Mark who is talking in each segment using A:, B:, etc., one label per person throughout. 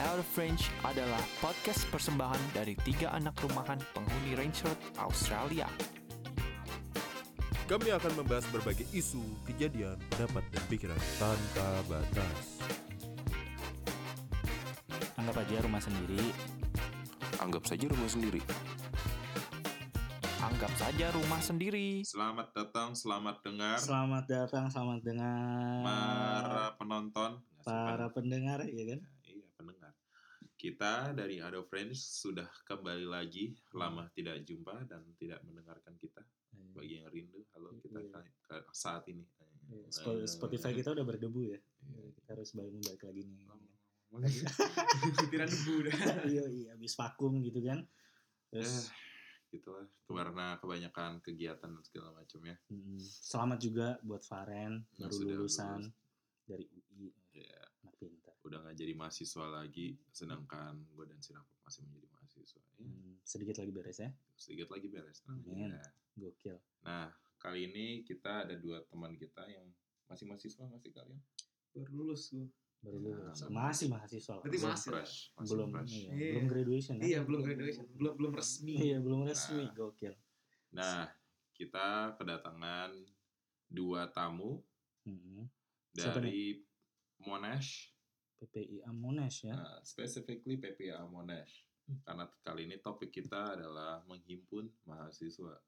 A: Out of Range adalah podcast persembahan dari tiga anak rumahan penghuni Range Road, Australia.
B: Kami akan membahas berbagai isu, kejadian, pendapat, dan pikiran tanpa batas.
C: Anggap aja rumah sendiri.
D: Anggap saja rumah sendiri.
A: Anggap saja rumah sendiri.
E: Selamat datang, selamat dengar
C: Selamat datang, selamat dengar.
E: para penonton. Nggak sih,
C: para
E: pen-
C: pendengar ya kan?
E: Iya, pendengar. Kita dari Ado Friends sudah kembali lagi, lama tidak jumpa dan tidak mendengarkan kita. Bagi yang rindu, halo kita
C: Iya.
E: ka- ka- saat ini.
C: Iya, Spo- Spotify kita udah berdebu ya. Kita harus balik balik lagi nih.
E: Kira debu dah.
C: Iya, iya, habis vakum gitu kan.
E: Eh,
C: Terus
E: Gitulah, karena kebanyakan kegiatan dan segala macam ya.
C: mm, selamat juga buat Faren
E: Yang
C: baru
E: sudah
C: lulusan
E: lulus.
C: dari UI.
E: Iya,
C: Anak pintar.
E: udah nggak jadi mahasiswa lagi, sedangkan gue dan Sirapuk masih menjadi mahasiswa. Ya,
C: Mm, sedikit lagi beres ya.
E: sedikit lagi beres. Iya. Tenang aja.
C: Amin. Gokil.
E: Nah, kali ini kita ada dua teman kita yang masih mahasiswa nggak sih kalian?
F: baru lulus gue
C: Baru
E: Ya,
C: lulus.
E: sama.
C: Masih mahasiswa.
F: Berarti
C: kan?
F: masih.
E: fresh, masih
C: belum
E: fresh.
C: iya,
F: Iya.
C: belum graduation ya?
F: iya belum graduation belum belum resmi
C: Iya, belum resmi.
E: Nah.
C: Gokil.
E: Nah, kita kedatangan dua tamu
C: Mm, Siapa
E: dari Monash,
C: PPI Amones ya.
E: nah, specifically PPA Monash.
F: Hmm.
E: Karena kali ini topik kita adalah menghimpun mahasiswa.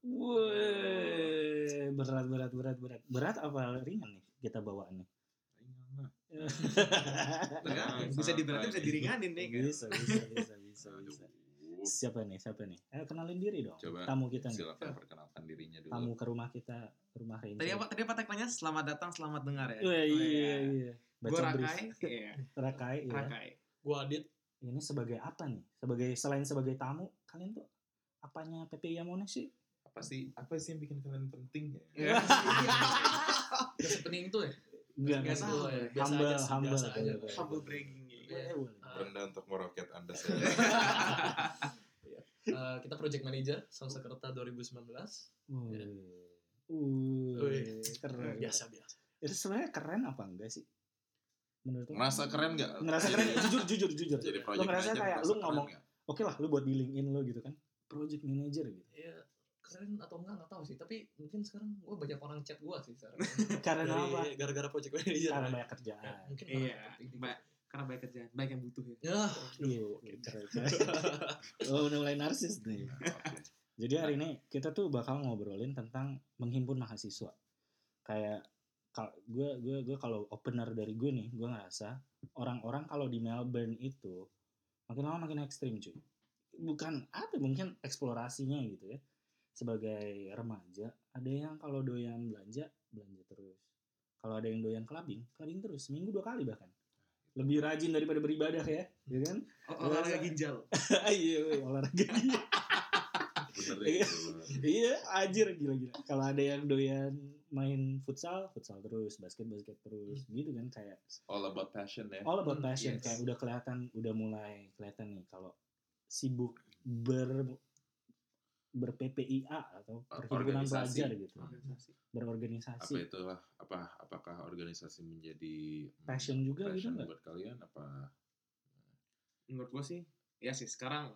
C: Woi, berat berat berat berat berat apa ringan nih kita bawa nih?
E: Ringan lah.
F: Tergantung. Eh, bisa
E: Santai.
F: diberatin bisa diringanin nih kan
C: bisa, bisa bisa bisa
E: Aduh.
C: bisa. Siapa nih siapa nih? Eh, kenalin diri dong.
E: Coba
C: Tamu kita nih.
E: silakan perkenalkan dirinya dulu.
C: Tamu ke rumah kita rumah Ranger.
F: tadi apa tadi apa tagline-nya? selamat datang selamat dengar ya
A: Oh,
C: Wah, iya iya.
F: gue
C: Baca brief.
F: rakai iya
C: Rakai, iya.
F: rakai
C: Ini sebagai apa nih? Sebagai selain sebagai tamu, kalian tuh apanya PPI Amones sih?
E: Apa sih apa sih yang bikin kalian penting ya?
F: Iya.
G: Gak sepening itu ya?
C: Enggak
G: Gak
C: tahu.
G: tahu ya. Biasa
C: Humble,
G: aja sih,
C: humble.
G: biasa aja.
C: Boleh,
F: humble bragging ya
C: Eh, boleh.
G: Ah,
E: Rendah untuk meroket Anda saya.
G: eh, kita project manager Samsakerta 2019.
C: Wih. Wih, keren.
G: Biasa biasa.
C: itu sebenarnya keren apa enggak sih menurut lo
E: Ngerasa keren nggak?
C: ngerasa keren
E: Jadi-
C: jujur jujur jujur
E: Jadi
C: lo
E: project
C: ngerasa
E: manager
C: kayak
E: ngerasa
C: lu
E: keren
C: ngomong
E: nggak?
C: oke lah lu buat di LinkedIn lo gitu kan project manager gitu
G: Iya, keren atau enggak nggak tahu sih. Tapi mungkin sekarang gue banyak orang chat gue sih sekarang.
C: karena
G: Dari-
C: apa
G: Gara-gara project manager.
C: karena banyak kerjaan
G: Mungkin
F: Iya,
G: orang penting.
F: Ba- karena baik kerjaan baik yang butuh ya
G: Ya,
C: iya iya, keren oh udah mulai narsis nih jadi hari ini kita tuh bakal ngobrolin tentang menghimpun mahasiswa kayak kal- gue gue gue kalau opener dari gue nih gue ngerasa orang-orang kalau di Melbourne itu makin lama makin ekstrim cuy bukan apa mungkin eksplorasinya gitu ya sebagai remaja ada yang kalau doyan belanja belanja terus kalau ada yang doyan clubbing clubbing terus seminggu dua kali bahkan lebih rajin daripada beribadah ya ya kan
F: O- olahraga ginjal
C: iya woi, olahraga
E: Bener deh,
C: Iya.
E: gitu.
C: iya anjir gila-gila kalau ada yang doyan main futsal futsal terus basket basket terus gitu kan kayak
E: All about passion ya.
C: all about passion
G: Yes.
C: kayak udah kelihatan udah mulai kelihatan nih kalau sibuk ber ber PPIA atau perhimpunan
E: Organisasi.
C: pelajar gitu
F: organisasi
E: Apa
C: berorganisasi
E: itu lah? Apa apakah organisasi menjadi mm,
C: Passion juga gitu
E: passion
C: nggak?
E: buat kalian apa?
F: menurut gue sih ya sih sekarang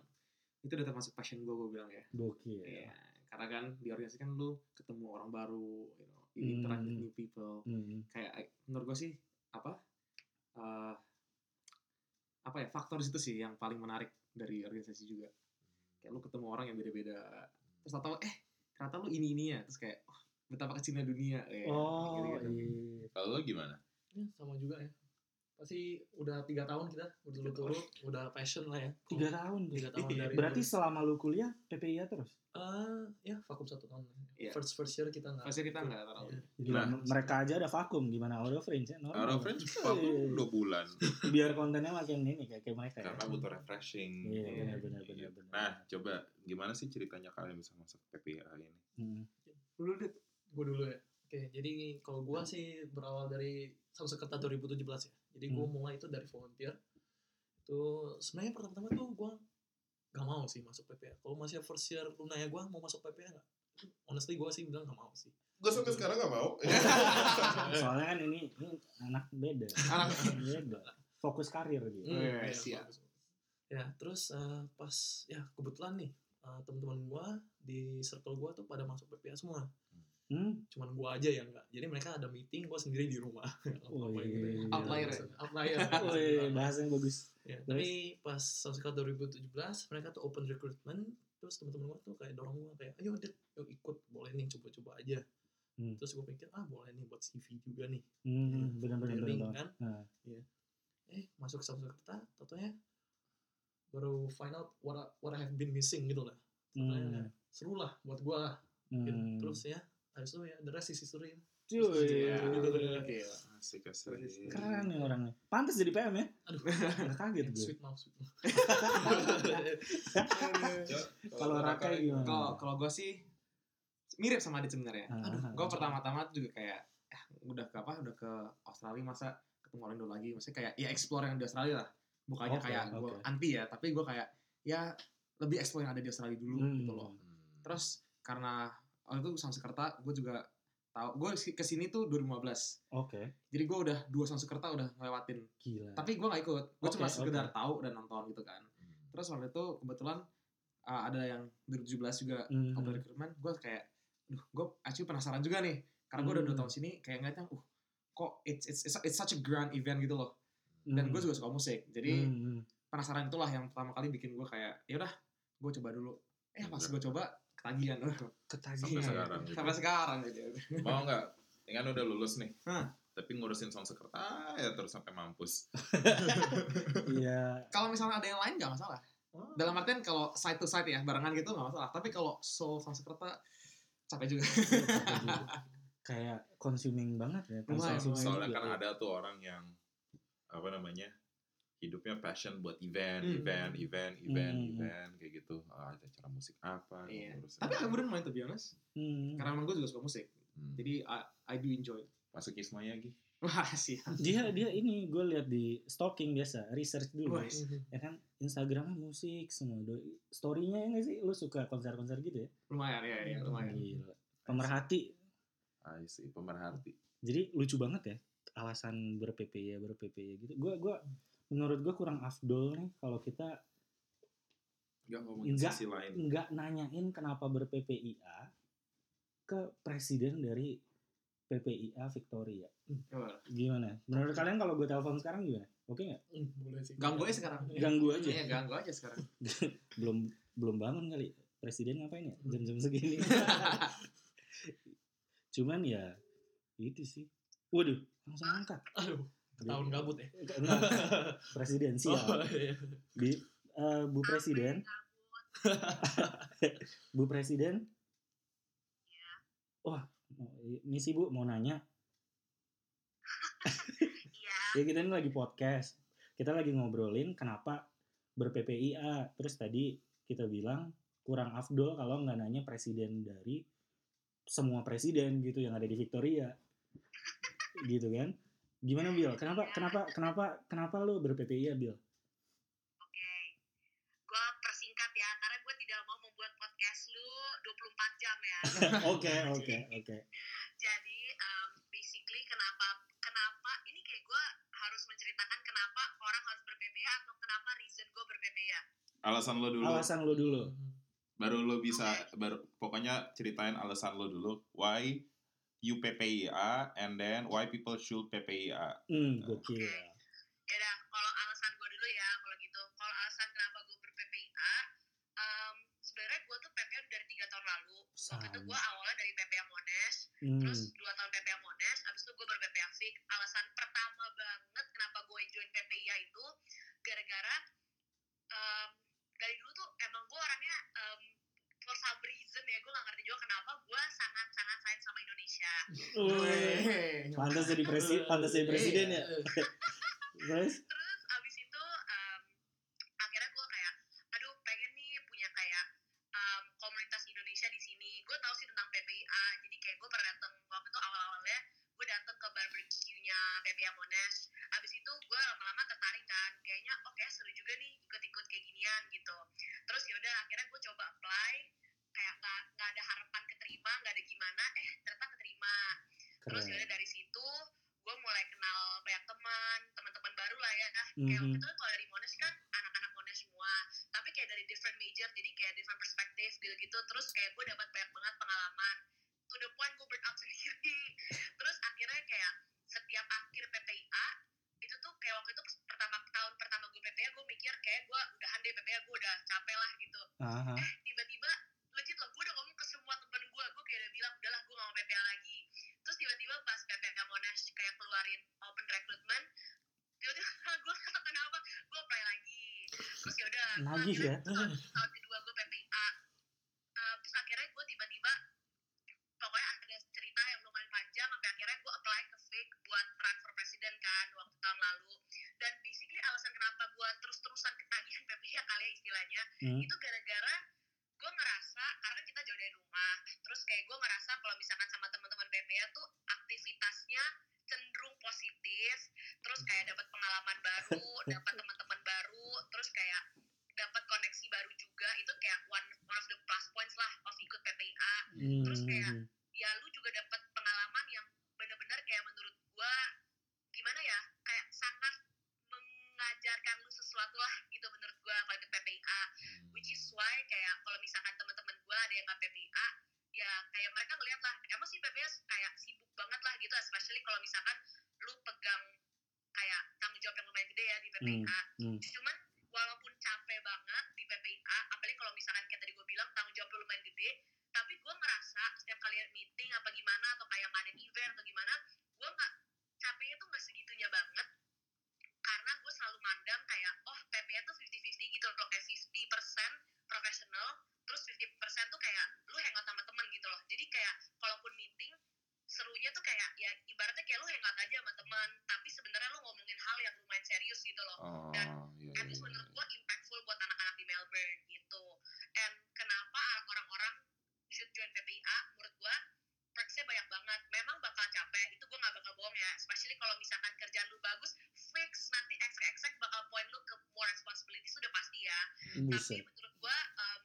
F: itu udah termasuk passion gue gue bilang ya
C: gokil
F: Iya, karena kan di organisasi kan lu ketemu orang baru, you know, you
C: Hmm.
F: interact with new people.
C: Hmm.
F: Kayak menurut gue sih apa eh, apa ya faktor situ sih yang paling menarik dari organisasi juga.
C: Hmm.
F: Kayak lu ketemu orang yang beda-beda, terus tahu eh ternyata lu ini ini ya, terus kayak "Wah, betapa kecilnya dunia. kayak
C: oh
F: gitu-gitu.
C: iya
E: Kalau lo gimana?
G: ya, sama juga ya. Pasti udah tiga tahun kita udah turut udah passion lah ya.
C: tiga tahun tuh.
G: Tiga tahun
F: Iya,
G: dari
C: berarti selama lu kuliah PPIA terus
G: Eh, ya vakum satu tahun ya.
F: Iya.
G: First first year kita nggak.
F: Pasti
C: Hmm.
F: kita nggak terlalu.
G: Iya.
C: Gila,
E: Nah.
C: mereka aja ada vakum gimana Out of Range ya? Normal.
E: Out of range vakum dua bulan
C: biar kontennya makin ini kayak, kayak mereka ya.
E: karena butuh refreshing.
C: Iya,
E: Iya.
C: benar, benar, benar.
E: Nah, coba gimana sih ceritanya kalian bisa masuk PPA ini?
C: Hmm.
F: Lu Dit,
G: Gue dulu ya. Oke, jadi kalau gue sih berawal dari Samsakerta 2017 ya. Jadi gue
C: Hmm.
G: mulai itu dari volunteer. Itu sebenarnya pertama-tama tuh gue gak mau sih masuk PPA. Kalau masih first year lu nanya gue mau masuk PPA gak? Honestly gue sih bilang gak mau sih.
D: Gue sampai sekarang gak mau.
C: soalnya kan ini, ini anak beda
F: anak
C: beda fokus karir dia
F: Hmm.
G: Iya,
F: siap.
G: bagus. ya terus eh, pas ya kebetulan nih eh, teman-teman gua di circle gua tuh pada masuk PPA semua
C: Hmm?
G: cuman gua aja yang nggak jadi mereka ada meeting gua sendiri di rumah Apa-apa
C: Wih.
G: gitu ya.
F: Outlier ya?
G: outlier
C: Woi, bahasanya bagus.
G: Ya, tapi pas Samskat 2017 mereka tuh open recruitment terus teman-teman gue tuh kayak dorong gue kayak ayo Dit, yuk ikut boleh nih coba-coba aja
C: Hmm.
G: terus gue pikir ah boleh nih buat CV juga nih
C: Hmm, benar-benar
G: daring
C: benar.
G: kan
C: Nah.
G: Iya. eh masuk Samskat tentunya baru find out what I, what I have been missing gitu lah Ternyata
C: Hmm.
G: seru lah buat gue lah gitu.
C: hmm.
G: terus ya habis itu ya the rest is history
C: Cuy.
F: ya.
E: Iya.
G: gitu
C: Hmm.
G: deh.
F: Gila.
E: Asik asik.
C: Keren nih orangnya. Pantes jadi PM ya?
G: aduh
C: Nggak kaget gue.
G: sweet mouth sweet mouth
C: Kalau Raka gimana?
F: Kalau kalau gue sih mirip sama Adit sebenarnya.
C: Ah,
G: aduh,
C: ah.
F: Gue pertama-tama juga kayak eh, udah ke apa? Udah ke Australia masa ketemu orang Indo lagi. Maksudnya kayak ya explore yang di Australia lah. Bukannya
C: Oke,
F: kayak gue
C: oke.
F: anti ya, tapi gue kayak ya lebih explore yang ada di Australia dulu
C: Hmm.
F: gitu loh. Terus karena waktu itu Sanskerta gue juga tahu gue kesini tuh 2015
C: Oke,
F: jadi gue udah dua Sanskerta udah ngelewatin
C: gila.
F: tapi gue gak ikut gue cuma
C: Oke,
F: sekedar tahu dan nonton gitu kan
E: Hmm.
F: terus waktu itu kebetulan uh, ada yang 2017 juga
C: Hmm.
F: open recruitment gue kayak duh gue actually penasaran juga nih karena gue udah dua
C: Hmm.
F: tahun sini kayak ngeliatnya uh kok it's, it's it's it's such a grand event gitu loh
C: Hmm.
F: dan gue juga suka musik jadi
C: Hmm, hmm.
F: penasaran itulah yang pertama kali bikin gue kayak ya udah gue coba dulu eh pas gue coba ketagihan
E: Sampai
F: ketagihan
E: sekarang gitu.
F: sampai sekarang gitu
E: Mau nggak? Ya kan udah lulus nih.
F: Hah.
E: Tapi ngurusin sound sekerta ya terus sampai mampus.
C: Iya.
F: kalau misalnya ada yang lain nggak masalah
C: Oh.
F: dalam artian kalau side to side ya barengan gitu nggak masalah tapi kalau soul Sanskerta capek juga
C: Kayak consuming banget ya.
F: Lumayan,
C: konsumsi ya.
E: Soalnya
C: juga.
E: kan ada tuh orang yang apa namanya hidupnya passion buat event,
F: Hmm.
E: event, event, event,
C: Hmm.
E: event kayak gitu. Ah, ada acara musik apa?
F: Iya.
E: ngurusin
F: tapi
E: apa.
F: aku wouldn't mind to be honest
C: Hmm.
F: karena emang gue juga suka musik
E: Hmm.
F: jadi I, I do enjoy
E: masuk ya, Ismaya lagi.
F: wah sih
C: Dia dia ini gue lihat di stalking biasa, research dulu.
F: Wah, iya.
G: iya,
C: Ya kan Instagramnya musik semua. Doi. Story-nya ya nggak sih? Lu suka konser-konser gitu ya?
F: lumayan ya,
G: Iya.
F: ya lumayan
C: Gila. Pemerhati.
E: Ah, sih pemerhati.
C: Jadi lucu banget ya alasan ber-PPY ber-PPY gitu. Gua gua menurut gue kurang afdol nih kalau kita
E: Gak ngomongin
C: Enggak.
E: sisi lain.
C: nggak nanyain kenapa ber-PPIA ke presiden dari PPIA Victoria.
F: Iya.
C: Gimana? Menurut kalian kalau gue telepon sekarang gimana? Oke nggak?
G: Hmm, boleh sih
F: ganggu aja sekarang
C: Ganggu aja.
F: Iya, ganggu aja sekarang
C: Belum belum bangun kali. Presiden ngapain ya?
G: Hmm.
C: Jam-jam segini. Cuman ya itu sih. Waduh, langsung angkat.
G: aduh tahun gabut ya
C: Enggak, presidensial.
G: Oh, iya.
C: Di, eh, Bu Presiden. Bu Presiden. Wah, misi Bu mau nanya. ya kita ini lagi podcast. Kita lagi ngobrolin kenapa ber-PPIA. Terus tadi kita bilang kurang afdol kalau nggak nanya presiden dari semua presiden gitu yang ada di Victoria. gitu kan. Gimana Bill? Kenapa kenapa kenapa kenapa lu ber-PPIA Bill?
H: Oke. Gue persingkat ya, karena gue tidak mau membuat podcast lu 24 jam ya.
C: Oke, oke, oke.
H: Jadi, um, basically kenapa kenapa ini kayak gue harus menceritakan kenapa orang harus ber-PPA atau kenapa reason ya, gue ber-PPA.
E: Alasan lo dulu.
C: Alasan lu dulu.
E: Baru lo bisa baru pokoknya ceritain alasan lo dulu why you PPIA and then why people should PPIA.
C: Hmm, gokil.
H: Ya udah, kalau alasan gue dulu ya, kalau gitu. Kalau alasan kenapa gue ber-PPA, um, sebenarnya gue tuh PPA udah dari tiga tahun lalu. Waktu itu gue awalnya dari PPA Monash,
C: Hmm.
H: Terus dua tahun PPA Monash, abis itu gue baru PPA Fik. Alasan pertama banget kenapa gue join PPIA itu gara-gara em, dari dulu tuh emang gue orangnya em, for some reason ya gue gak ngerti juga kenapa gue sangat-sangat sayang sama Indonesia.
F: Weh.
C: Hmm. Pantas jadi presiden, pantas jadi presiden ya. Terus
H: Terus abis itu em, akhirnya gue kayak, aduh pengen nih punya kayak em, komunitas Indonesia di sini. Gue tahu sih tentang PPIA, jadi kayak gue pernah dateng waktu itu awal-awalnya gue dateng ke barbecue-nya PPIA Monash. Abis itu gue lama-lama tertarik kan, kayaknya oke seru juga nih ikut-ikut kayak ginian gitu. Terus yaudah akhirnya gue coba apply, kayak nggak nggak ada harapan keterima, nggak ada gimana, eh ternyata keterima. Terus
C: keren.
H: yaudah dari situ gue mulai kenal banyak teman, teman-teman baru lah ya. Nah, kayak
C: Mhm.
H: waktu itu kalau dari Monash kan anak-anak Monash semua. gitu.
C: Aha.
H: eh tiba-tiba legit loh gue udah ngomong ke semua temen gue gue kayak udah bilang udahlah gue gak mau PPA lagi terus tiba-tiba pas PPA Monash kayak keluarin open recruitment tiba-tiba gue kata kenapa gue apply lagi terus yaudah gue
C: Nagih
H: akhirnya
C: ya.
H: tahun, tahun kedua gue PPA Eh, terus akhirnya gue tiba-tiba pokoknya ada cerita yang lumayan panjang sampai akhirnya gue apply ke FIG buat run for president kan waktu tahun lalu dan basically alasan kenapa gue terus-terusan ketagihan PPA kali ya istilahnya
C: Hmm.
H: itu gara-gara gue ngerasa karena kita jauh dari rumah terus kayak gue ngerasa kalau misalkan sama teman-teman PPA tuh aktivitasnya cenderung positif terus kayak dapat pengalaman baru dapat teman-teman baru terus kayak dapat koneksi baru juga itu kayak one one of the plus points lah of ikut PPA Terus kayak,
C: Hmm.
H: ya lu juga dapat pengalaman yang bener-bener kayak menurut gua gimana ya kayak sangat mengajarkan lu sesuatu lah gitu menurut gua kalau ikut PPIA
E: Hmm.
H: which is why kayak kalau misalkan teman-teman gua ada yang nggak PPIA ya kayak mereka ngeliat lah emang sih PPIA kayak sibuk banget lah gitu especially kalau misalkan lu pegang kayak tanggung jawab yang lumayan gede ya di PPIA
C: hmm.
H: cuman walaupun capek banget di PPIA apalagi kalau misalkan kayak tadi gue bilang tanggung jawab lu lumayan gede tapi gue ngerasa setiap kali meeting apa gimana atau kayak nggak ada event atau gimana gue nggak capeknya tuh nggak segitunya banget karena gue selalu mandang kayak oh PPIA tuh 50-50 gitu loh kayak 50% profesional terus 50% tuh kayak lu hangout sama temen gitu loh jadi kayak kalaupun meeting serunya tuh kayak ya ibaratnya kayak lu hangout aja sama temen tapi sebenarnya lu ngomongin hal yang lumayan serius gitu loh
E: Oh,
H: Dan
E: iya,
H: at least menurut gue impactful buat anak-anak di Melbourne gitu. And kenapa orang-orang should join PPIA? Menurut gue perksnya banyak banget. Memang bakal capek, itu gue gak bakal bohong ya. Especially kalau misalkan kerjaan lu bagus, fix nanti extra-extra bakal point lu ke more responsibilities itu udah pasti ya. Tapi
C: Buset.
H: menurut gua em,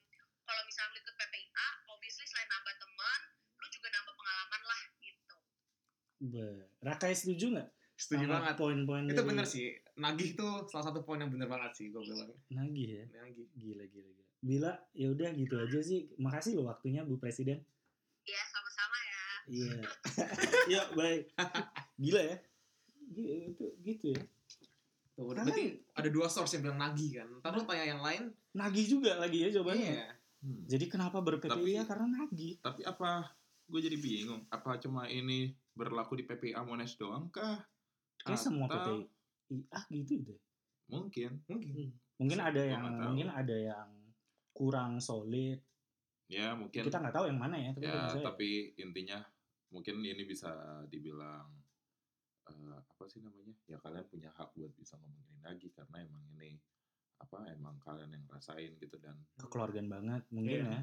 H: kalau misalnya lu ikut PPIA, obviously selain nambah teman, lu juga nambah pengalaman lah gitu.
C: Be- Rakai setuju nggak?
F: Setuju
C: sama
F: banget.
C: Poin-poin
F: Itu
C: dari
F: bener sih. Nagih tuh salah satu poin yang bener banget sih gue bilang.
C: Nagih ya.
F: Nagih.
C: Gila gila gila. Bila ya udah gitu aja sih. Makasih loh waktunya Bu Presiden.
H: Ya sama-sama ya.
C: Iya. ya baik. Gila ya. Gila, itu gitu ya.
F: Tuh, berarti ada dua source yang bilang nagih kan. Ntar
C: Nah.
F: lu tanya yang lain.
C: Nagih juga lagi ya jawabannya.
F: Iya.
E: Hmm.
C: Jadi kenapa
E: Tapi-
C: berPPIA karena nagih.
E: Tapi apa gue jadi bingung? Apa cuma ini berlaku di PPA Monash doang kah?
C: Kayak semua
E: Atau
C: PPIA gitu deh.
E: Mungkin.
C: Hmm.
F: Mungkin.
C: Mungkin ada
E: Gua
C: yang
E: nggak tahu.
C: mungkin ada yang kurang solid.
E: Ya, mungkin.
C: Kita nggak tahu yang mana ya, tapi
E: ya,
C: kalau saya-
E: tapi intinya mungkin ini bisa dibilang eh, apa sih namanya? Ya kalian punya hak buat bisa ngomongin lagi karena emang ini apa emang kalian yang rasain gitu dan
C: kekeluargaan banget mungkin
F: Iya.
C: ya.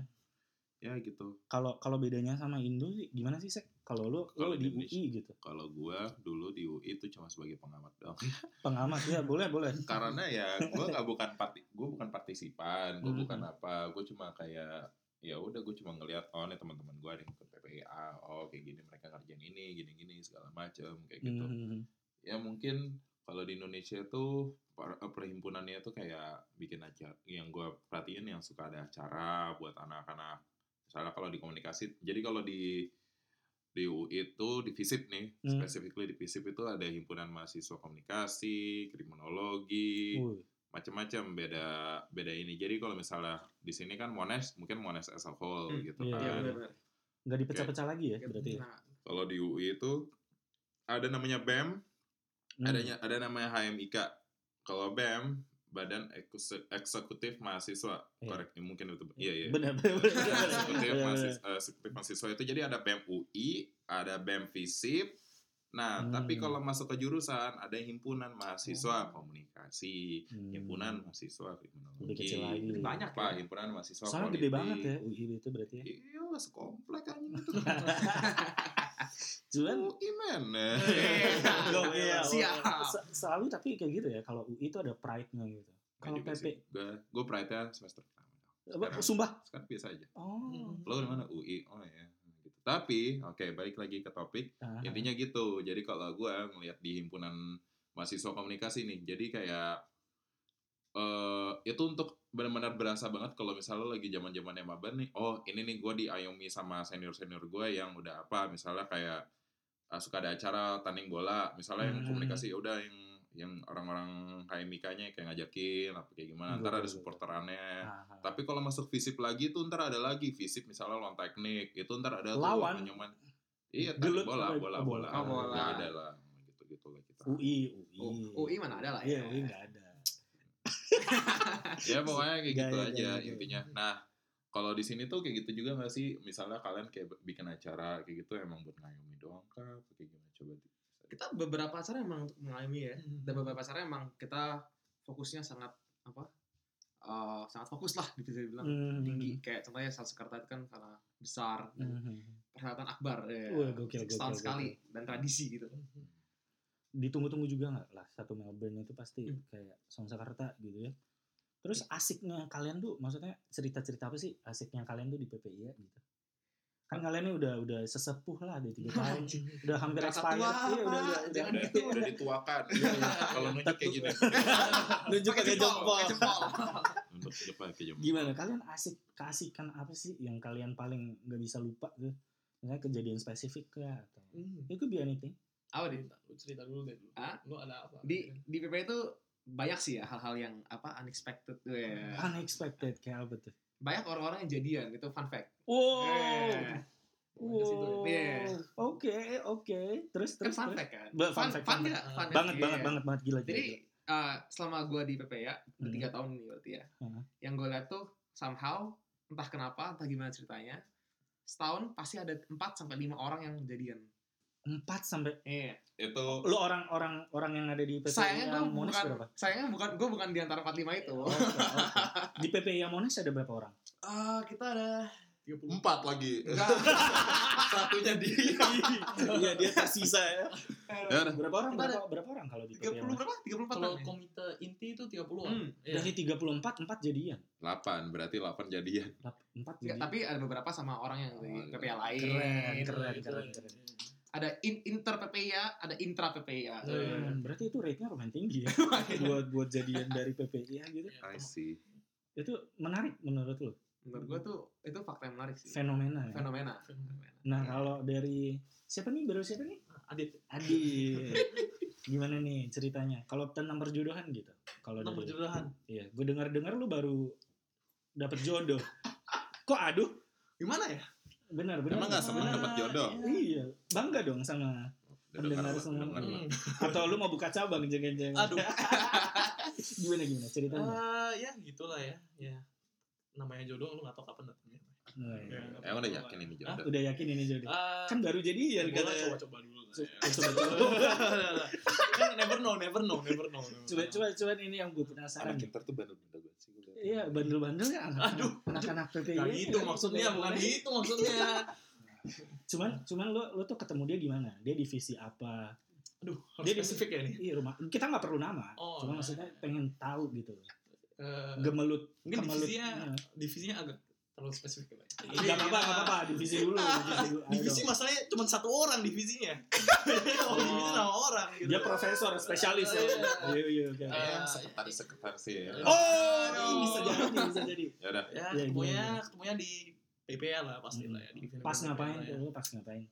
E: ya gitu.
C: Kalau kalau bedanya sama Indo sih gimana sih Sek? Kalau lu
E: Kalau
C: lu di
E: Indonesia-
C: UI gitu.
E: Kalau gua dulu di UI itu cuma sebagai pengamat doang.
C: Pengamat ya boleh boleh.
E: karena ya gue nggak bukan parti gue bukan partisipan gue
C: Mhm.
E: bukan apa gue cuma kayak ya udah gue cuma ngelihat oh nih teman-teman gue ada yang ikut PPA oh kayak gini mereka ngerjain ini gini gini segala macem kayak gitu
C: Mhm.
E: ya mungkin kalau di Indonesia tuh per- eh, perhimpunannya tuh kayak bikin acara yang gue perhatiin yang suka ada acara buat anak-anak misalnya kalau di komunikasi jadi kalau di di UI itu di FISIP nih
C: Hmm.
E: specifically di FISIP itu ada himpunan mahasiswa komunikasi kriminologi
C: Wuh,
E: macam-macam beda beda ini jadi kalau misalnya di sini kan Monash mungkin Monash as a whole
F: Hmm,
E: gitu kan
C: iya,
F: Iya bener-bener.
C: nggak dipecah-pecah lagi ya berarti. ya?
F: Nah,
E: kalau di UI itu ada namanya BEM
C: Hmm.
E: adanya ada namanya HMIK kalau BEM Badan Ekuse- Eksekutif Mahasiswa
C: Iya.
E: korek mungkin itu iya iya
C: Benar benar. benar, benar.
E: eksekutif
C: Iya,
E: mahasiswa,
C: benar.
E: eh, eksekutif mahasiswa itu jadi ada BEM UI, ada BEM FISIP. Nah, tapi
C: Hmm. Oh.
E: kalau masuk ke jurusan ada himpunan mahasiswa komunikasi,
C: Hmm.
E: himpunan mahasiswa
C: Lebih
E: kriminologi.
C: kecil lagi.
F: Banyak
E: apa
F: ya.
E: himpunan mahasiswa
C: Soalnya gede banget ya UI itu berarti ya.
E: Iya, sekomplek anjing itu.
C: Cuman
E: UI men.
C: Gokil.
F: Siap.
C: Se- selalu tapi kayak gitu ya kalau UI itu ada pride-nya gitu. Kalau PP
E: gue pride-nya semester pertama.
C: apa,
E: Sekarang-
C: sumpah.
E: Sekarang biasa aja.
C: Oh.
E: Lo dari mana? UI. Oh ya. Gitu. Tapi, oke, balik lagi ke topik.
C: Ah,
F: Iya.
E: intinya gitu jadi kalau gue ngelihat di himpunan mahasiswa komunikasi nih jadi kayak eh itu untuk benar-benar berasa banget kalau misalnya lagi zaman zamannya maban nih oh ini nih gue diayomi sama senior senior gue yang udah apa misalnya kayak eh, suka ada acara tanding bola misalnya yang
C: Hmm.
E: komunikasi udah yang yang orang-orang HMIK-nya kayak ngajakin apa kayak gimana
C: Betul,
E: ntar ada
C: betul,
E: supporterannya
C: Nah,
E: tapi kalau masuk visip lagi tuh ntar ada lagi visip misalnya lawan teknik itu ntar ada
C: Lawan.
E: tuh nyoman iya
C: Gelut
E: tadi bola
C: apa-
E: bola
C: oh,
E: bola
C: bola.
F: Oh, bola.
E: Nggak ada lah gitu gitu lah kita
C: UI, UI.
F: U- UI mana ada lah
C: Iya,
F: ya.
C: UI nggak ada.
E: ya pokoknya kayak
C: Gaya,
E: gitu
C: gaya,
E: aja
C: gaya.
E: intinya nah kalau di sini tuh kayak gitu juga nggak sih misalnya kalian kayak bikin acara kayak gitu emang buat ngayomi doang kah Apa kayak gimana coba di
F: Kita beberapa acara emang untuk mengalami ya. Dan beberapa acara emang kita fokusnya sangat apa? eh, sangat fokus lah bisa dibilang
C: Hmm.
F: tinggi kayak contohnya satu sekartat kan karena besar dan
C: Mhm.
F: perhelatan akbar ya,
C: Wah, gokil,
F: Six tahun
C: gokil, Hmm.
F: sekali dan tradisi gitu
C: Ditunggu-tunggu juga nggak lah satu Melbourne itu pasti
F: Hmm. Iya.
C: kayak Song Jakarta gitu ya. Terus asiknya kalian tuh maksudnya cerita-cerita apa sih asiknya kalian tuh di PPI ya gitu. Kan kalian ini udah udah sesepuh lah di tiga tahun. udah hampir
F: Kata
C: expired.
F: tua,
C: Iya, udah, udah, Iya,
F: Pak.
C: udah.
F: Jangan
E: udah,
F: gitu.
E: udah dituakan
C: iya.
E: kalau nunjuk kayak gini
C: Nunjuk
F: Pakai
C: aja jempol.
F: pakai jempol.
E: nunjuk aja pakai jempol
C: Gimana kalian asik keasikan apa sih yang kalian paling nggak bisa lupa tuh? Misalnya kejadian spesifik ya atau
G: Hmm.
C: It could be anything.
F: apa di
G: Cerita, lu cerita dulu deh. Lu,
F: Hah?
G: lu ada apa?
F: di di PP itu banyak sih ya hal-hal yang apa unexpected ya.
C: Unexpected kayak apa
F: Eh.
C: tuh?
F: banyak orang-orang yang jadian itu fun fact
C: Wow.
F: Eh,
G: Banyak sih tuh.
C: Wow.
F: Iya.
C: Oke, oke. Terus
F: kan
C: terus.
F: fun
C: terus.
F: fact kan
C: Ba- fun fact,
F: fun
C: fun
F: nggak?
G: fact.
F: Fun fact.
C: Banget
F: Iya.
C: banget banget banget gila. gila,
F: jadi
C: gila.
F: eh, selama gue di PP ya udah
C: Hmm.
F: tiga tahun nih berarti ya
C: Heeh.
F: yang gue lihat tuh somehow entah kenapa entah gimana ceritanya setahun pasti ada 4 sampai lima orang yang jadian
C: empat sampai
F: iya
E: itu
C: lu orang orang orang yang ada di PPI
F: sayangnya gue
C: Monas
F: bukan
C: berapa?
F: sayangnya bukan gue bukan di antara 45
C: Oke,
F: itu
C: oke. Di PPI Monas ada berapa orang?
F: Ah, kita ada
E: empat lagi
F: enggak
E: satunya di
C: Iya dia tersisa ya.
E: ya udah.
C: Berapa orang?
F: Kita ada-
C: Berapa, berapa orang kalau di
F: 30
C: PPI Monas?
F: berapa? 34
G: Kalau
F: an ya?
G: komite inti itu 30-an.
F: Hmm.
G: Iya.
C: Dari 34 4 jadian.
E: delapan berarti delapan jadian
C: 4
F: Enggak,
C: jadian.
F: tapi ada beberapa sama orang yang dari
E: Oh,
F: PPA lain.
C: Keren,
G: Iya,
C: keren,
G: iya,
C: keren,
G: iya.
C: keren.
F: Ada in- inter PPA, ada intra PPA.
G: Iya.
C: Hmm, berarti itu rate-nya lumayan tinggi ya buat buat jadian dari PPI ya gitu.
G: Iya,
E: I see
C: Itu menarik menurut lu
F: Menurut gua tuh itu fakta yang menarik sih.
C: fenomena ya.
F: Fenomena.
G: Fenomena.
C: Nah, kalau dari siapa nih baru siapa nih?
G: Adit,
C: Adi. Gimana nih ceritanya? Kalau tentang perjodohan gitu. Kalau
G: tentang
C: dari
G: perjodohan.
C: Iya, gue dengar-dengar lu baru dapet jodoh. Kok aduh?
F: Gimana ya?
C: Benar, benar.
E: emang nggak seneng
C: Benar.
E: dapat jodoh
C: Iya, bangga dong sama
E: Udah dengar
C: Pendengar
E: lah,
C: semua. Iya.
E: dengar lah.
C: atau lu mau buka cabang jangan-jangan.
G: Hmm. Aduh.
C: gimana gimana ceritanya?
G: Eh, ya gitulah ya. Ya. Namanya jodoh lu gak tau kapan datangnya.
C: Nah,
F: Iya.
G: Ya, nggak
E: emang udah
G: tahu.
E: yakin ini jodoh
C: Ah, Udah yakin ini jodoh?
G: Eh,
C: Kan baru jadian
G: boleh
C: katanya. eh,
G: coba-coba dulu lah
C: Coba-
G: ya.
C: coba-
G: Kan never know, never know, never know. never
C: Coba
G: know.
C: coba coba ini yang gue penasaran.
E: anak inter tuh bandel-bandel banget sih gue liat.
C: Iya, bandel-bandel ya anak-
G: Aduh.
C: anak-anak PPI.
G: Gak gitu maksudnya, bukan gitu maksudnya.
C: iya. Cuman cuman lu lu tuh ketemu dia gimana? Dia divisi apa?
G: Aduh, harus
C: Dia di-
G: spesifik ya ini.
C: Iya, rumah. Kita nggak perlu nama.
G: Oh,
C: Cuma
G: nah.
C: maksudnya pengen tahu gitu.
G: Eh,
C: Gemelut.
G: mungkin
C: gemelut.
G: divisinya,
C: Iya.
G: Eh, divisinya agak terlalu spesifik ya, Pak.
C: Gak apa-apa, gak apa-apa. Divisi dulu. Divisi dulu. Ayo
G: Divisi
C: dong.
G: masalahnya cuma satu orang divisinya. Kalau
C: Oh.
G: divisi sama orang gitu.
C: Dia profesor, spesialis. ya.
G: Iya.
C: Iya, iya, oke.
G: Eh,
E: Kayaknya sekretaris-sekretaris sih ya.
G: Oh,
C: Oh, bisa jadi, bisa jadi.
E: Ya udah,
G: Ya,
C: Iya,
G: ketemunya,
C: gimana?
G: ketemunya di PPA lah pasti lah ya. Di event-
C: Pas
G: event
C: ngapain?
G: lah ya.
C: Lu pas ngapain?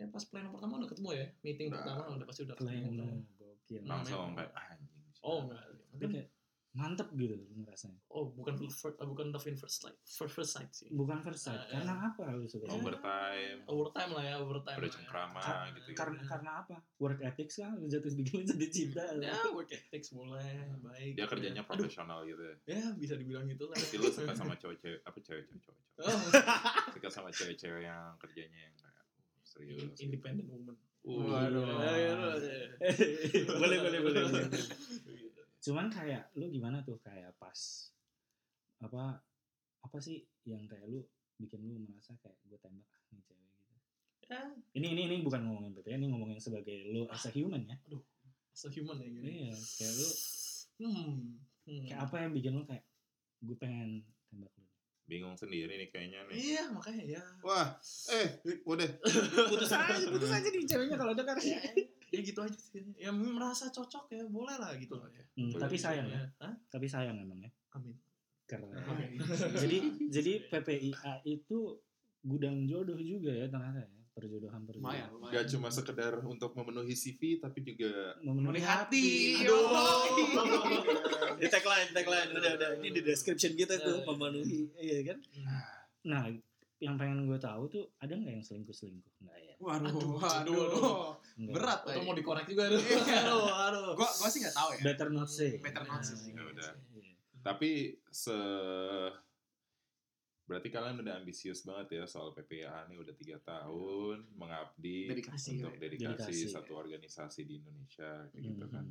G: Ya, pas plan pertama udah ketemu ya. Meeting
E: Udah.
G: pertama udah pasti udah
C: Selain
G: ketemu.
C: lu, gokil.
G: Nah.
E: langsung kayak anjing.
G: Oh, enggak.
C: Tapi kayak mantep gitu lu ngerasanya.
G: Oh, bukan first, bukan love in first sight. First, first sight sih.
C: Bukan first sight.
G: Ah, iya.
C: Karena apa lu suka?
G: Oh, ber-
E: overtime.
G: Overtime lah ya, overtime.
E: Udah
G: lah ya.
E: cengkrama
G: Ah,
E: gitu ya.
C: iya, Karena karena apa? Work ethics kan lu jatuh bikin jadi cinta.
G: Ya, work ethics boleh, baik.
E: Dia kerjanya
G: Aduh,
E: profesional gitu ya.
G: ya bisa dibilang gitu lah.
E: Berarti lu suka sama cewek-cewek apa cewek-cewek cowok
G: Oh,
E: Suka sama cewek-cewek yang kerjanya yang kayak "Oh, serius.
C: Iya.
G: independent woman.
E: Waduh.
G: Ya, ya, ya.
C: boleh, boleh, boleh, boleh. Cuman kayak lu gimana tuh kayak pas apa apa sih yang kayak lu bikin lu merasa kayak gue tembak ah, nih cewek gitu.
G: Ya,
C: Ini ini ini bukan ngomongin PPN, ini ngomongin sebagai lu as a human ya.
G: as a human ya gini.
C: Iya, kayak lu
G: Hmm. hmm.
C: kayak apa yang bikin lu kayak gue pengen tembak lu.
E: Bingung sendiri nih kayaknya nih.
G: Iya, makanya ya.
E: Wah, eh,
C: Iya.
E: udah.
C: Putus aja, putus aja nih ceweknya kalau dengar.
G: ya, ya gitu aja sih. Ya merasa cocok ya, boleh lah gitu lah ya.
C: Hmm, tapi sayang ya,
G: Hah?
C: tapi sayang emang ya.
G: Amin.
C: Keren.
G: Amin.
C: jadi jadi PPIA itu gudang jodoh juga ya ternyata ya perjodohan
F: lumayan
C: perjodohan
G: Iya.
F: lumayan
E: Gak cuma sekedar untuk memenuhi CV, tapi juga
C: memenuhi
F: hati.
C: aduh di tagline tagline udah udah ini di description gitu
G: Ya,
C: tuh
G: ya.
C: memenuhi iya kan nah yang pengen gue tahu tuh ada nggak yang selingkuh selingkuh nggak ya
F: waduh
G: Aduh,
F: waduh,
G: aduh,
F: aduh.
C: Nggak.
F: berat
G: Atau
F: Bay.
G: mau dikorek juga aduh.
F: Iya.
G: aduh, aduh.
F: gua gua sih nggak tahu ya
C: better not say
F: Better not say.
E: Ya
C: Nah, iya.
E: udah.
C: Iya.
E: tapi se berarti kalian udah ambisius banget ya soal PPAH nih udah tiga tahun mengabdi
F: Dedikasi,
E: untuk
F: ya.
E: dedikasi,
C: Dedikasi.
E: satu organisasi di Indonesia kayak gitu
C: Hmm.
E: kan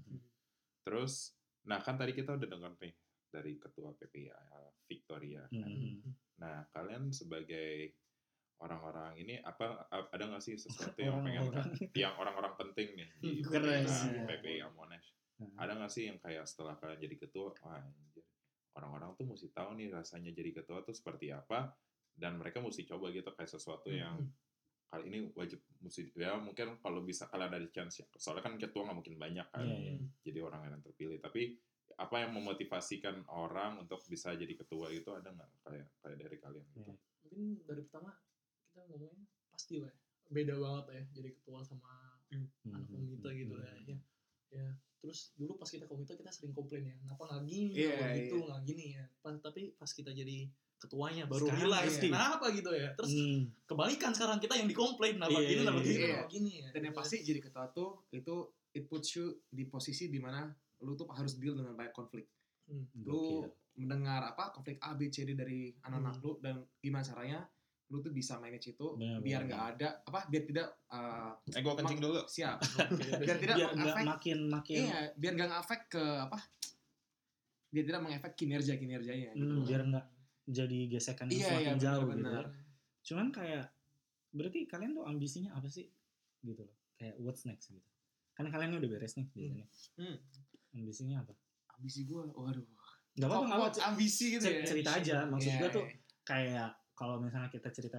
E: terus nah kan tadi kita udah dengar nih dari ketua PPAH Victoria
C: Hmm.
E: nah kalian sebagai orang-orang ini apa a- ada nggak sih sesuatu yang pengen
C: Orang-orang.
E: yang orang-orang penting nih Nah, di
C: Iya. Hmm, Keren sih.
E: PPAH, PPAH Monash
C: Nah,
E: ada nggak sih yang kayak setelah kalian jadi ketua wah, anjir, orang-orang tuh mesti tahu nih rasanya jadi ketua tuh seperti apa dan mereka mesti coba gitu kayak
C: Hmm.
E: sesuatu yang kali ini wajib mesti ya mungkin kalau bisa kalian ada chance ya soalnya kan ketua nggak mungkin banyak kan
C: Iya, iya.
E: jadi orang yang terpilih tapi apa yang memotivasikan orang untuk bisa jadi ketua itu ada nggak kayak kayak dari kalian gitu
G: mungkin dari pertama kita ngomongin pasti lah ya. beda banget lah ya jadi ketua sama
C: Hmm,
G: anak komite gitu lah ya. ya terus dulu pas kita komite kita sering komplain ya kenapa nggak gini
F: Iya,
G: nggak gitu
F: iya.
G: nggak gini ya Pas- tapi pas kita jadi ketuanya baru
C: Sekarang
G: realize
F: iya.
G: kenapa gitu ya terus
C: Hmm.
G: kebalikan sekarang kita yang dikomplain kenapa
C: Iya,
G: gini kenapa
C: iya,
G: gini
F: iya.
G: kenapa gini ya
F: dan yang pasti jadi ketua tuh itu it puts you di posisi dimana lu tuh harus deal dengan banyak konflik
G: Hmm.
F: lu mendengar apa konflik A B C D dari anak-anak lu dan gimana caranya lu tuh bisa manage itu
C: Hmm. Benar,
F: biar
C: benar.
F: nggak ada apa biar tidak uh,
E: eh gue kencing dulu
F: siap
G: Oke.
F: biar tidak
C: biar nggak
F: mengefek
C: makin makin
F: iya biar nggak ngefek ke apa biar tidak mengefek kinerja kinerjanya gitu.
C: Hmm, biar nggak jadi gesekan yang
F: Iya,
C: semakin
F: iya,
C: jauh gitu.
F: benar-benar.
C: ya. Cuman kayak berarti kalian tuh ambisinya apa sih gitu loh. Kayak what's next gitu. Kan kalian udah beres nih biasanya.
F: Hmm.
C: Ambisinya apa?
F: ambisi gue waduh
C: Gak apa-apa, nggak
F: Kuat,
C: apa-apa.
F: ambisi gitu
C: Cer-
F: ya
C: cerita aja. Maksud
F: Iya,
C: gua tuh
F: iya.
C: kayak kalau misalnya kita cerita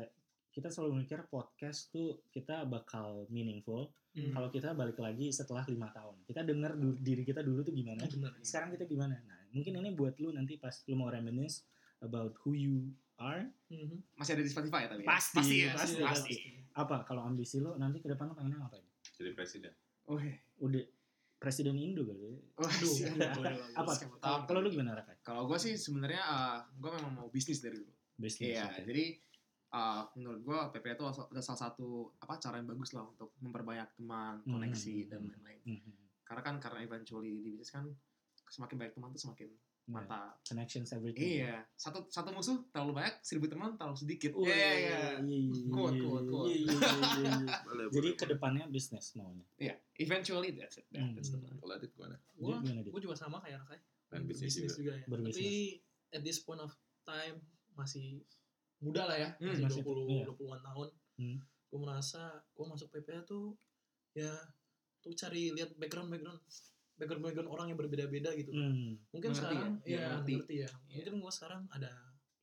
C: kita selalu mikir podcast tuh kita bakal meaningful
F: Hmm.
C: kalau kita balik lagi setelah lima tahun kita dengar du- diri kita dulu tuh gimana
G: benar
F: iya.
C: sekarang kita gimana nah mungkin ini buat lu nanti pas lu mau reminisce about who you are
G: Mhm.
F: masih ada di Spotify ya tapi ya?
C: Iya. Pasti,
F: pasti ya,
C: pasti,
F: pasti,
C: pasti. apa kalau ambisi lo nanti ke depan lo pengennya ngapain?
E: jadi presiden
F: Oh,
C: Udah presiden Indo kali. ya. iya.
G: Aduh,
F: oh, siap.
G: aduh, aduh, aduh.
C: Apa?
G: Siapa tahu.
C: Kalau kalau lu gimana Raka?
F: Kalau gue sih sebenarnya gue memang mau bisnis dari dulu.
C: Bisnis.
F: Iya,
C: oke. Mhm.
F: jadi uh, menurut gue PPA itu salah- udah salah satu apa cara yang bagus lah untuk memperbanyak teman,
C: Hmm.
F: koneksi dan lain-lain.
C: Mhm.
F: Karena kan karena eventually di bisnis kan semakin banyak teman tuh semakin
C: Nah,
F: mantap.
C: Connections everything.
F: Iya, satu satu musuh terlalu banyak, seribu teman terlalu sedikit.
C: Wah,
F: Iya, iya, iya. Kuat,
C: iya,
F: kuat, kuat.
C: iya, iya, iya, iya.
E: boleh
C: Jadi kedepannya bisnis maunya.
F: Iya, eventually that's it. Nah,
C: Hmm.
F: That's the plan.
E: kalau adit gimana
C: Jadi
G: Gua-
C: gimana dia?
G: gue juga sama kayak Rakai
E: dan bisnis juga
G: juga ya
C: Berbisnis.
G: tapi at this point of time masih muda lah ya
F: Hmm,
G: masih
C: masih-
G: 20
C: iya.
G: 20-an tahun
C: Hmm.
G: gue merasa gue masuk PPA tuh ya tuh cari lihat background background background background orang yang berbeda-beda gitu
C: Hmm.
G: mungkin
F: Mengerti
G: sekarang
F: ya? Iya,
G: ya,
F: mengerti.
G: mengerti ya mungkin gue sekarang ada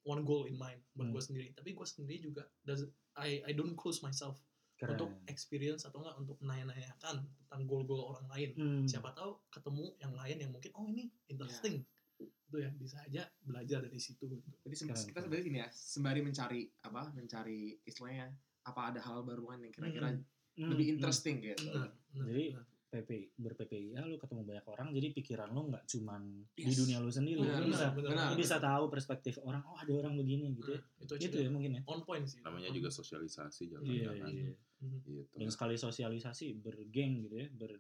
G: one goal in mind buat
C: Hmm.
G: gue sendiri tapi gue sendiri juga does- I I don't close myself
C: Keren.
G: untuk experience atau enggak untuk nanya-nanyakan tentang goal-goal orang lain
C: Hmm.
G: siapa tahu ketemu yang lain yang mungkin oh ini interesting itu ya bisa aja belajar dari situ gitu.
F: Jadi sem-
C: Keren,
F: kita
C: keren.
F: sebenarnya gini ya, sembari mencari apa, mencari istilahnya apa ada hal baruan yang kira-kira
C: Hmm,
F: lebih
C: hmm.
F: interesting gitu.
G: Benar, benar,
C: Jadi-
G: benar.
C: PPI berPPIA lu ketemu banyak orang jadi pikiran lu nggak cuman di
F: Yes.
C: dunia lu sendiri lu
F: Benar,
C: bisa
G: benar,
F: benar.
C: lu bisa tahu perspektif orang oh ada orang begini gitu ya.
G: Nah, itu aja
C: Gitu
G: udah
C: ya mungkin ya.
G: on point sih Hmm.
E: namanya juga sosialisasi
C: Iya,
E: jalan-jalan
C: iya.
G: Mhm.
E: gitu
C: dan sekali sosialisasi bergeng gitu ya ber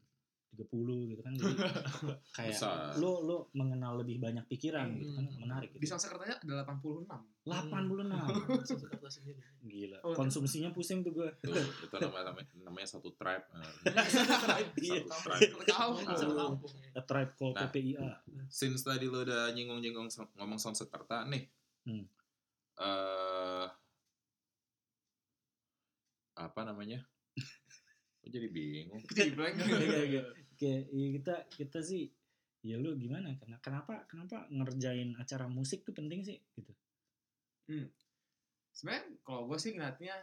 C: 30 gitu kan jadi kayak
E: Besar.
C: lo lo mengenal lebih banyak pikiran gitu kan
G: Hmm.
C: menarik
F: Di
C: gitu.
F: Samsa Kertanya ada 86.
C: 86
G: satu kertas sendiri
C: Nah. gila
F: Oh,
C: konsumsinya pusing tuh gue
E: Tuh, itu namanya namanya- namanya satu tribe eh,
C: Iya.
E: satu tribe
F: Satu kampung.
G: satu kampung ya.
C: A Tribe
E: Nah.
C: Called PPIA
E: since tadi lo udah nyinggung-nyinggung som- ngomong soal sekerta nih
C: Hmm.
E: eh, apa namanya Gua jadi bingung
F: Jadi blank.
C: Iya, iya. Oke, ya kita kita sih ya lu gimana Kena- kenapa kenapa ngerjain acara musik tuh penting sih gitu
F: Sebenarnya kalau gue sih ngeliatnya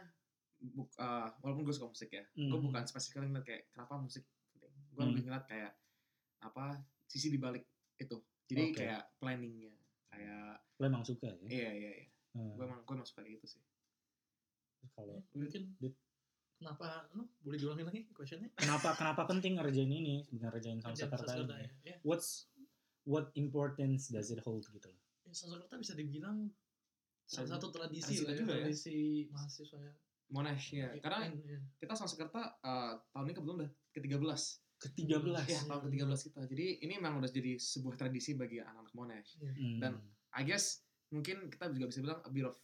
F: buk, eh, walaupun gue suka musik ya,
C: Hmm.
F: gue bukan spesifikal ngeliat kayak kenapa musik penting. Gue
C: Hmm.
F: lebih ngeliat kayak apa sisi di balik itu. Jadi
C: Oke.
F: kayak planningnya, kayak
C: lo emang suka ya
F: iya iya iya.
C: Hmm,
F: Gue emang gue emang suka kayak gitu sih.
C: kalau
G: mungkin Kenapa? No, boleh diulangin lagi questionnya?
C: Kenapa kenapa penting ngerjain ini? Sebenarnya ngerjain sama
G: Kerjaan
C: sekretariat.
G: sastra
C: ini.
G: ya. Ya,
C: What's what importance does it hold gitu loh.
G: ya Sanskerta bisa dibilang salah satu tradisi
F: tradisi
G: lah ya,
F: juga ya.
G: tradisi mahasiswa ya.
F: Monash ya. Karena
G: UN, ya.
F: kita Sanskerta eh, tahun ini kebetulan udah ke-13.
C: Ke-13.
F: Ya, tahun ke-13 kita. Jadi ini memang udah jadi sebuah tradisi bagi anak-anak Monash.
C: Hmm.
F: Dan I guess mungkin kita juga bisa bilang a bit of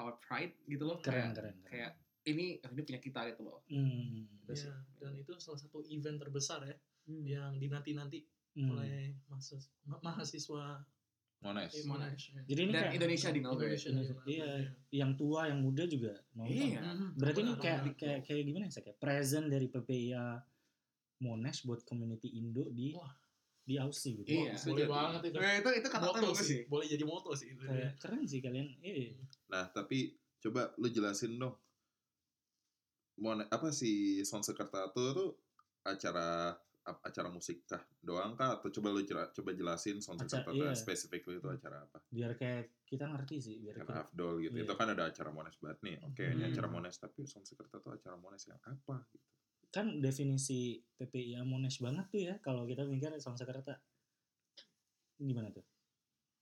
F: our pride gitu loh.
C: keren,
F: Kayak-
C: keren, keren.
F: Kayak ini ini punya kita gitu loh.
C: Hmm.
F: Gitu sih.
G: Ya, dan itu salah satu event terbesar ya
F: Ya.
G: yang dinanti-nanti
C: Hmm.
G: oleh mahasiswa mahasiswa
E: Mones.
C: Iya,
G: eh, Monash. ya.
C: Jadi ini
F: Dan
C: kayak
F: Indonesia di Melbourne.
G: Indonesia,
C: Iya, yang tua yang muda juga nonton.
F: Iya.
G: Mhm.
C: Berarti ini
G: Benar,
C: kayak
G: benar.
C: kayak kayak gimana ya? Sa? Kayak present dari PPIA Monash buat community Indo di
G: Wah.
C: di Aussie gitu.
F: Iya.
E: Bisa
G: boleh
E: jadi.
G: banget itu.
F: Eh, itu itu kata-kata
G: Moto
F: bagus sih.
G: Boleh jadi moto sih itu.
C: Kayak keren sih kalian. Iya.
E: Nah, tapi coba lu jelasin dong. Mon apa sih Sonsekerta itu tuh acara ap- acara musik kah doang kah atau coba lu jela- coba jelasin Sonsekerta
C: Acara- iya.
E: spesifik itu acara apa?
C: Biar kayak kita ngerti sih, biar
E: Acara
C: kita
E: Afdol gitu.
C: Iya.
E: Itu kan ada acara Mones banget nih. Oke, ini
F: Hmm.
E: acara Mones tapi Sonsekerta tuh acara Mones yang apa?
C: kan definisi PPIA Monash banget tuh ya kalau kita mikir Sanskerta gimana tuh?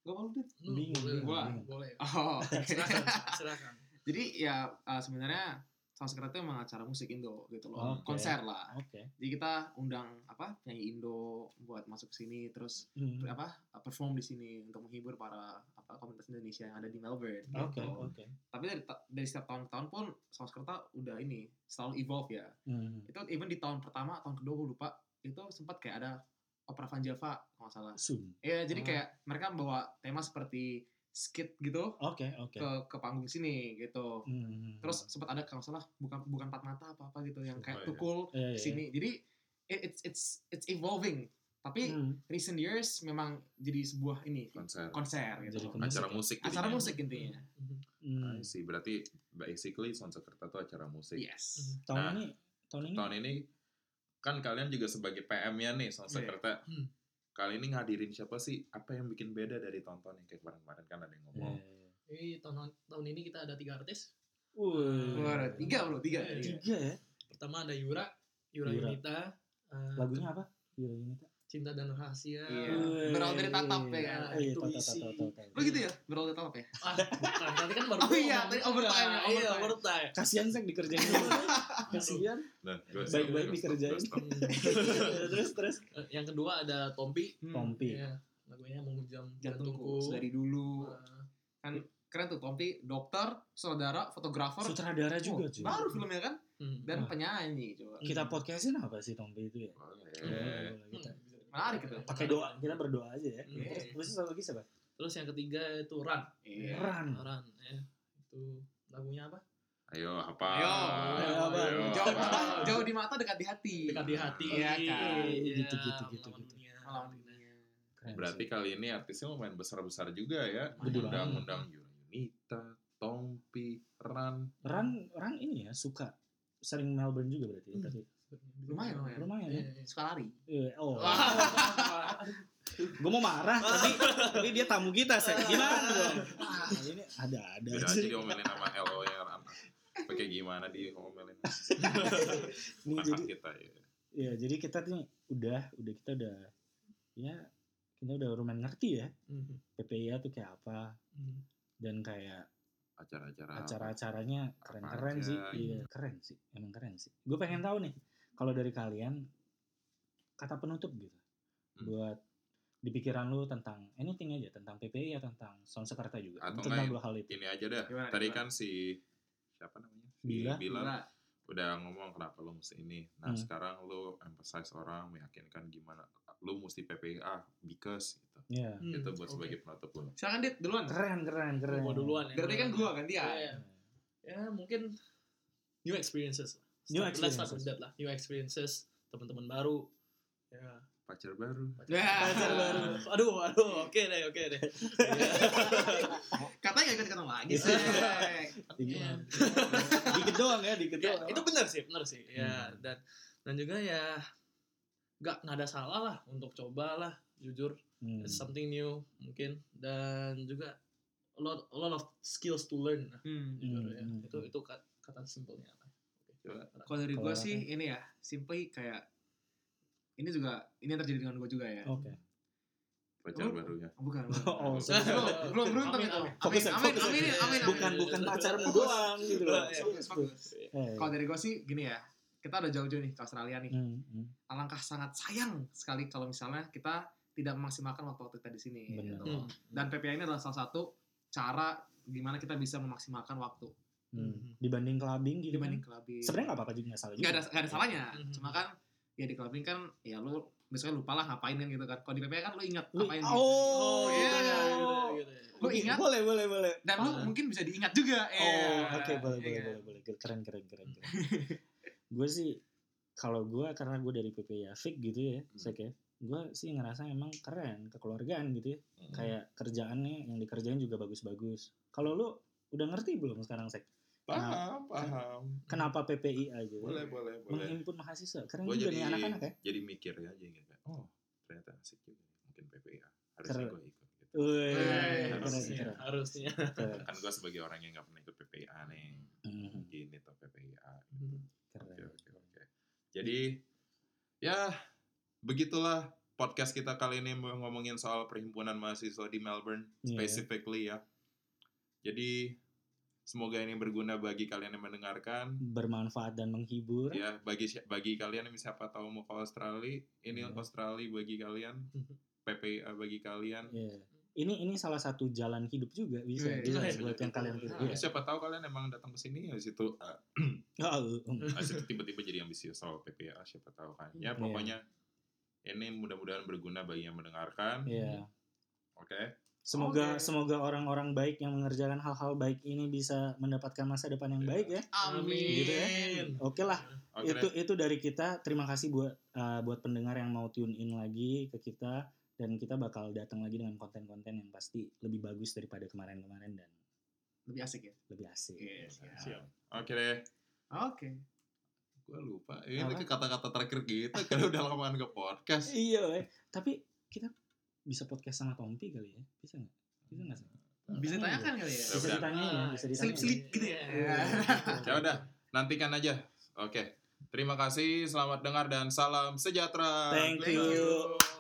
F: Gak mau deh.
G: Hmm,
C: Bingung,
G: boleh,
F: gua.
G: boleh.
F: Oh, oke.
G: Silakan, silakan.
F: Jadi ya eh, sebenarnya Sanskerta itu emang acara musik Indo gitu loh.
C: Oke.
F: Konser lah.
C: Oke.
F: Jadi kita undang apa penyanyi Indo buat masuk ke sini terus
C: Hmm.
F: apa perform di sini untuk menghibur para apa komunitas Indonesia yang ada di Melbourne. gitu.
C: Oke, oke.
F: Tapi dari, ta- dari setiap tahun ke tahun pun Sanskerta udah ini selalu evolve ya.
C: Hmm.
F: Itu even di tahun pertama, tahun kedua gue lupa itu sempat kayak ada opera Van Java kalau nggak salah.
C: Zoom.
F: Ya jadi
C: Ah.
F: kayak mereka bawa tema seperti skit gitu
C: Oke, oke.
F: ke ke panggung sini gitu.
C: Hmm.
F: Terus sempat ada kalau nggak salah bukan bukan empat mata apa apa gitu yang kayak
E: Sumpah ya.
F: tukul
C: Iya, iya,
F: sini. Jadi it- it's it's it's evolving.
C: iya.
F: Tapi
C: Hmm.
F: recent years memang jadi sebuah ini
E: Konser.
F: konser
C: Jadi
F: gitu.
C: konser.
E: acara musik.
F: Acara
E: jadinya.
F: musik intinya.
G: Mhm.
C: Hmm.
E: Ah, sih berarti basically Sonsekerta tuh acara musik.
F: Yes.
C: Tahun
E: Nah,
C: ini tahun ini
E: tahun ini kan kalian juga sebagai PM-nya nih sama Sekerta.
G: Hmm.
E: Kali ini ngadirin siapa sih? Apa yang bikin beda dari tonton yang kayak kemarin-kemarin kan ada yang
C: Iya,
E: ngomong.
C: iya, iya.
G: Jadi tahun tahun ini kita ada tiga artis.
C: Wuih.
F: Waduh, tiga bro, tiga.
G: Iya,
F: tiga.
C: Tiga ya.
G: Pertama ada Yura, Yura,
C: Yura.
G: Yunita. eh,
C: Lagunya apa? Yura ini tuh.
G: Cinta dan Rahasia.
F: Iya.
C: Wuih.
F: Berawal dari tatap ya kan?
C: Oh, Iya,
G: Itu
C: tatap,
G: isi.
C: tatap, tatap.
F: Lo gitu ya? Berawal dari tatap ya?
G: Ah, bukan. Tadi kan baru
F: Oh iya,
G: ngomong.
F: tadi overtime ya,
G: Iya,
F: overtime.
G: overtime.
C: Kasihan sek dikerjain dulu. Kasihan.
E: Nah, gua-
C: Baik-baik
E: gua-
C: dikerjain.
E: gua stop.
C: terus terus.
G: Hmm. Eh, Yang kedua ada Tompi.
F: Hmm.
C: Tompi.
G: Iya, lagunya Eh, menghujam
F: Jantungku dari dulu. Kan keren tuh Tompi, dokter, saudara, fotografer.
C: Sutradara juga
F: Oh,
C: cuy.
F: Baru filmnya kan?
G: Dan
F: Dan
C: Ah.
F: penyanyi coba.
C: Kita podcastin apa sih Tompi itu ya?
E: Boleh.
C: Boleh, boleh, kita.
G: Hmm,
F: Menarik itu.
C: pakai doa kita berdoa aja ya terus
G: Iya.
C: terus satu lagi siapa
G: Terus yang ketiga itu Ran.
F: Iya.
C: Ran
G: Ran, ya. Itu lagunya apa?
E: Ayo, apa?
F: Ayo,
C: ayo, ayo,
F: Jauh di
E: apa?
F: mata, jauh di mata, dekat di hati.
G: Dekat di hati.
F: Iya, kan?
G: Iya,
C: Gitu, gitu, gitu,
G: melawan
C: gitu.
G: dunia.
F: Malam dunia.
C: Keren
E: Berarti
C: sih.
E: kali ini artisnya lumayan besar-besar juga ya.
C: Gede
E: Undang-undang Yunita, Tompi, Ran.
C: Ran Ran ini ya suka sering Melbourne juga berarti ya,
G: Hmm.
C: berarti
F: Lumayan, lumayan.
C: lumayan ya
G: Iya, iya.
F: Suka lari.
C: Eh, oh
F: Wah.
C: gue mau marah tapi tapi dia tamu kita sih gimana dong Ah, ini ada ada
E: Beda
C: aja.
E: aja diomelin sama LO ya Ran. Pakai gimana dia ngomelin.
C: Ini
E: Bukan
C: jadi
E: hak kita ya.
C: ya jadi kita nih udah udah kita udah ya kita udah lumayan ngerti ya
G: Mhm.
C: PPIA tuh kayak apa
G: Mhm.
C: dan kayak
E: Acara-acara.
C: acara-acaranya keren-keren
E: Ah, aja,
C: sih
E: gitu.
C: iya keren sih emang keren sih gue pengen tahu nih kalau dari kalian kata penutup gitu
E: Hmm.
C: buat di pikiran lu tentang anything aja tentang PPI ya tentang sound Sekarta juga
E: Atau
C: tentang
E: enggak, ya?
C: dua hal itu
E: Ini aja dah.
F: Gimana,
E: Tadi
F: gimana?
E: kan si siapa namanya? Si
C: Bila.
E: Bila
F: Gila.
E: udah ngomong kenapa lu mesti ini. Nah,
C: Hmm.
E: sekarang lu emphasize orang meyakinkan gimana lu mesti PPA because gitu.
C: ya
G: Hmm,
E: Itu buat
G: oke.
E: sebagai penutup lu.
F: Silakan Dit, duluan.
C: keren keren keren
G: Gua duluan ya.
F: Berarti kan gua kan dia.
G: Iya. Ya, mungkin new experiences. lah.
C: New
G: Start- let's start
C: experiences.
G: with that lah. New experiences, teman-teman baru. Ya.
E: Pacar baru.
F: Ya.
C: Iya.
G: Pacar baru. Aduh, aduh, oke deh, oke deh. Iya.
F: Katanya gak ikut-ikutan lagi sih.
C: Iya.
G: Iya.
C: dikit doang ya dikit
G: Ya,
C: doang Hmm.
G: itu benar sih, benar sih. Ya, dan dan juga ya nggak nggak ada salah lah untuk cobalah jujur
C: Hmm.
G: It's something new mungkin dan juga a lot a lot of skills to learn
F: Hmm.
G: jujur
C: Hmm,
G: ya.
C: hmm,
G: Itu
C: hmm.
G: itu kat- kata simpelnya apa? Oke.
E: Coba.
F: Kalau dari
C: Kalau
F: gue
C: apa?
F: sih ini ya, simply kayak ini juga ini yang terjadi dengan gue juga ya.
C: Oke.
E: Pacar
F: Oh.
E: barunya. Nah,
F: Bukan.
C: Oh,
F: bukan.
C: sorry.
F: Belum, belum belum
G: Amin,
F: tapi amin.
G: amin.
F: Amin,
C: Fokus, ya,
F: amin,
C: fokus.
F: amin, amin, amin.
C: Bukan bukan pacarmu doang gitu loh.
F: Iya,
C: Fokus,
F: fokus.
C: Eh,
F: Kalau dari gue sih gini ya, kita udah jauh-jauh nih ke Australia nih.
C: hmm, hmm.
F: Alangkah sangat sayang sekali kalau misalnya kita tidak memaksimalkan waktu-waktu kita di sini.
C: Benar. Hmm.
F: gitu. Dan PPI ini adalah salah satu cara gimana kita bisa memaksimalkan waktu
C: Hmm. Dibanding clubbing gitu. Dibanding
F: dibanding kelabing.
C: Sebenarnya nggak apa-apa juga nggak salah juga.
F: nggak ada nggak ada salahnya
G: Mhm.
F: cuma kan ya di clubbing kan ya lu besoknya lupa lah ngapain kan gitu kan kalau di PPI kan lu ingat
C: Lu-
F: ngapain
C: Oh,
F: Iya.
G: gitu, gitu.
F: lu ingat
C: Boleh, boleh, boleh.
F: dan lu mungkin bisa diingat juga
C: Oh,
F: Iya.
C: oke boleh, boleh,
F: Iya kan?
C: boleh, boleh. Keren, keren, keren, keren. gue sih kalau gue karena gue dari PP Yafik gitu ya,
E: Hmm.
C: Sek ya. Gue sih ngerasa emang keren kekeluargaan gitu ya.
E: Hmm.
C: Kayak kerjaannya yang dikerjain juga bagus-bagus. Kalau lu udah ngerti belum sekarang Sek?
E: Hmm. Paham, paham.
C: Kenapa PPI aja?
E: Boleh, boleh, boleh.
C: Menghimpun mahasiswa. Keren
E: Gue
C: juga
E: jadi
C: nih anak-anak ya.
E: jadi mikir ya, jadi ingat kayak, oh ternyata asik juga. Mungkin PPA.
C: Keren.
E: Harusnya gue ikut. gitu.
C: Wih,
G: Eh,
C: keren,
E: iya.
G: harusnya,
C: keren,
G: harusnya.
C: keren.
E: Kan gue sebagai orang yang gak pernah ikut PPA nih.
C: Hmm,
E: Gini tuh PPA. Oke,
C: keren. Iya.
E: oke, oke. Jadi ya begitulah podcast kita kali ini mau ngomongin soal perhimpunan mahasiswa di Melbourne
C: Iya.
E: specifically ya. Jadi semoga ini berguna bagi kalian yang mendengarkan.
C: Iya. Bermanfaat dan menghibur.
E: Ya, bagi si- bagi kalian yang siapa tahu mau ke Australia, ini
C: Iya.
E: Australia bagi kalian, PPA bagi kalian.
C: Iya. Ini ini salah satu jalan hidup juga bisa
F: Iya,
C: bisa
G: iya,
C: buat
G: iya.
C: yang kalian pilih.
E: Ya, siapa tahu kalian emang datang ke sini habis itu eh,
C: Iya. Oh, um.
E: habis itu Ah, tiba-tiba jadi ambisius soal PPA siapa tahu kan. Ya
C: Iya.
E: pokoknya ini mudah-mudahan berguna bagi yang mendengarkan.
C: Iya.
E: Oke.
C: Semoga
F: Oke.
C: semoga orang-orang baik yang mengerjakan hal-hal baik ini bisa mendapatkan masa depan yang
E: Iya.
C: baik ya.
F: amin
C: Gitu ya. Oke lah,
E: Oke
C: itu itu dari kita. Terima kasih buat eh, buat pendengar yang mau tune in lagi ke kita dan kita bakal datang lagi dengan konten-konten yang pasti lebih bagus daripada kemarin-kemarin dan
F: lebih asik ya
C: lebih asik.
F: Yes,
E: deh.
F: ya.
E: Siap. Oke deh.
F: oke
E: Gue lupa. Ini
C: Apa?
E: kata-kata terakhir gitu karena udah lama nggak podcast.
C: Iya, woy. tapi kita bisa podcast sama Tompi kali ya? Bisa nggak? Bisa nggak sih?
F: bisa tanyakan kali ya
E: Bisa
C: Bisa ditanya ya, bisa ditanya.
F: Selip-selip gitu ya.
E: Ya udah, nantikan aja. Oke. Terima kasih, selamat dengar dan salam sejahtera.
C: Thank you.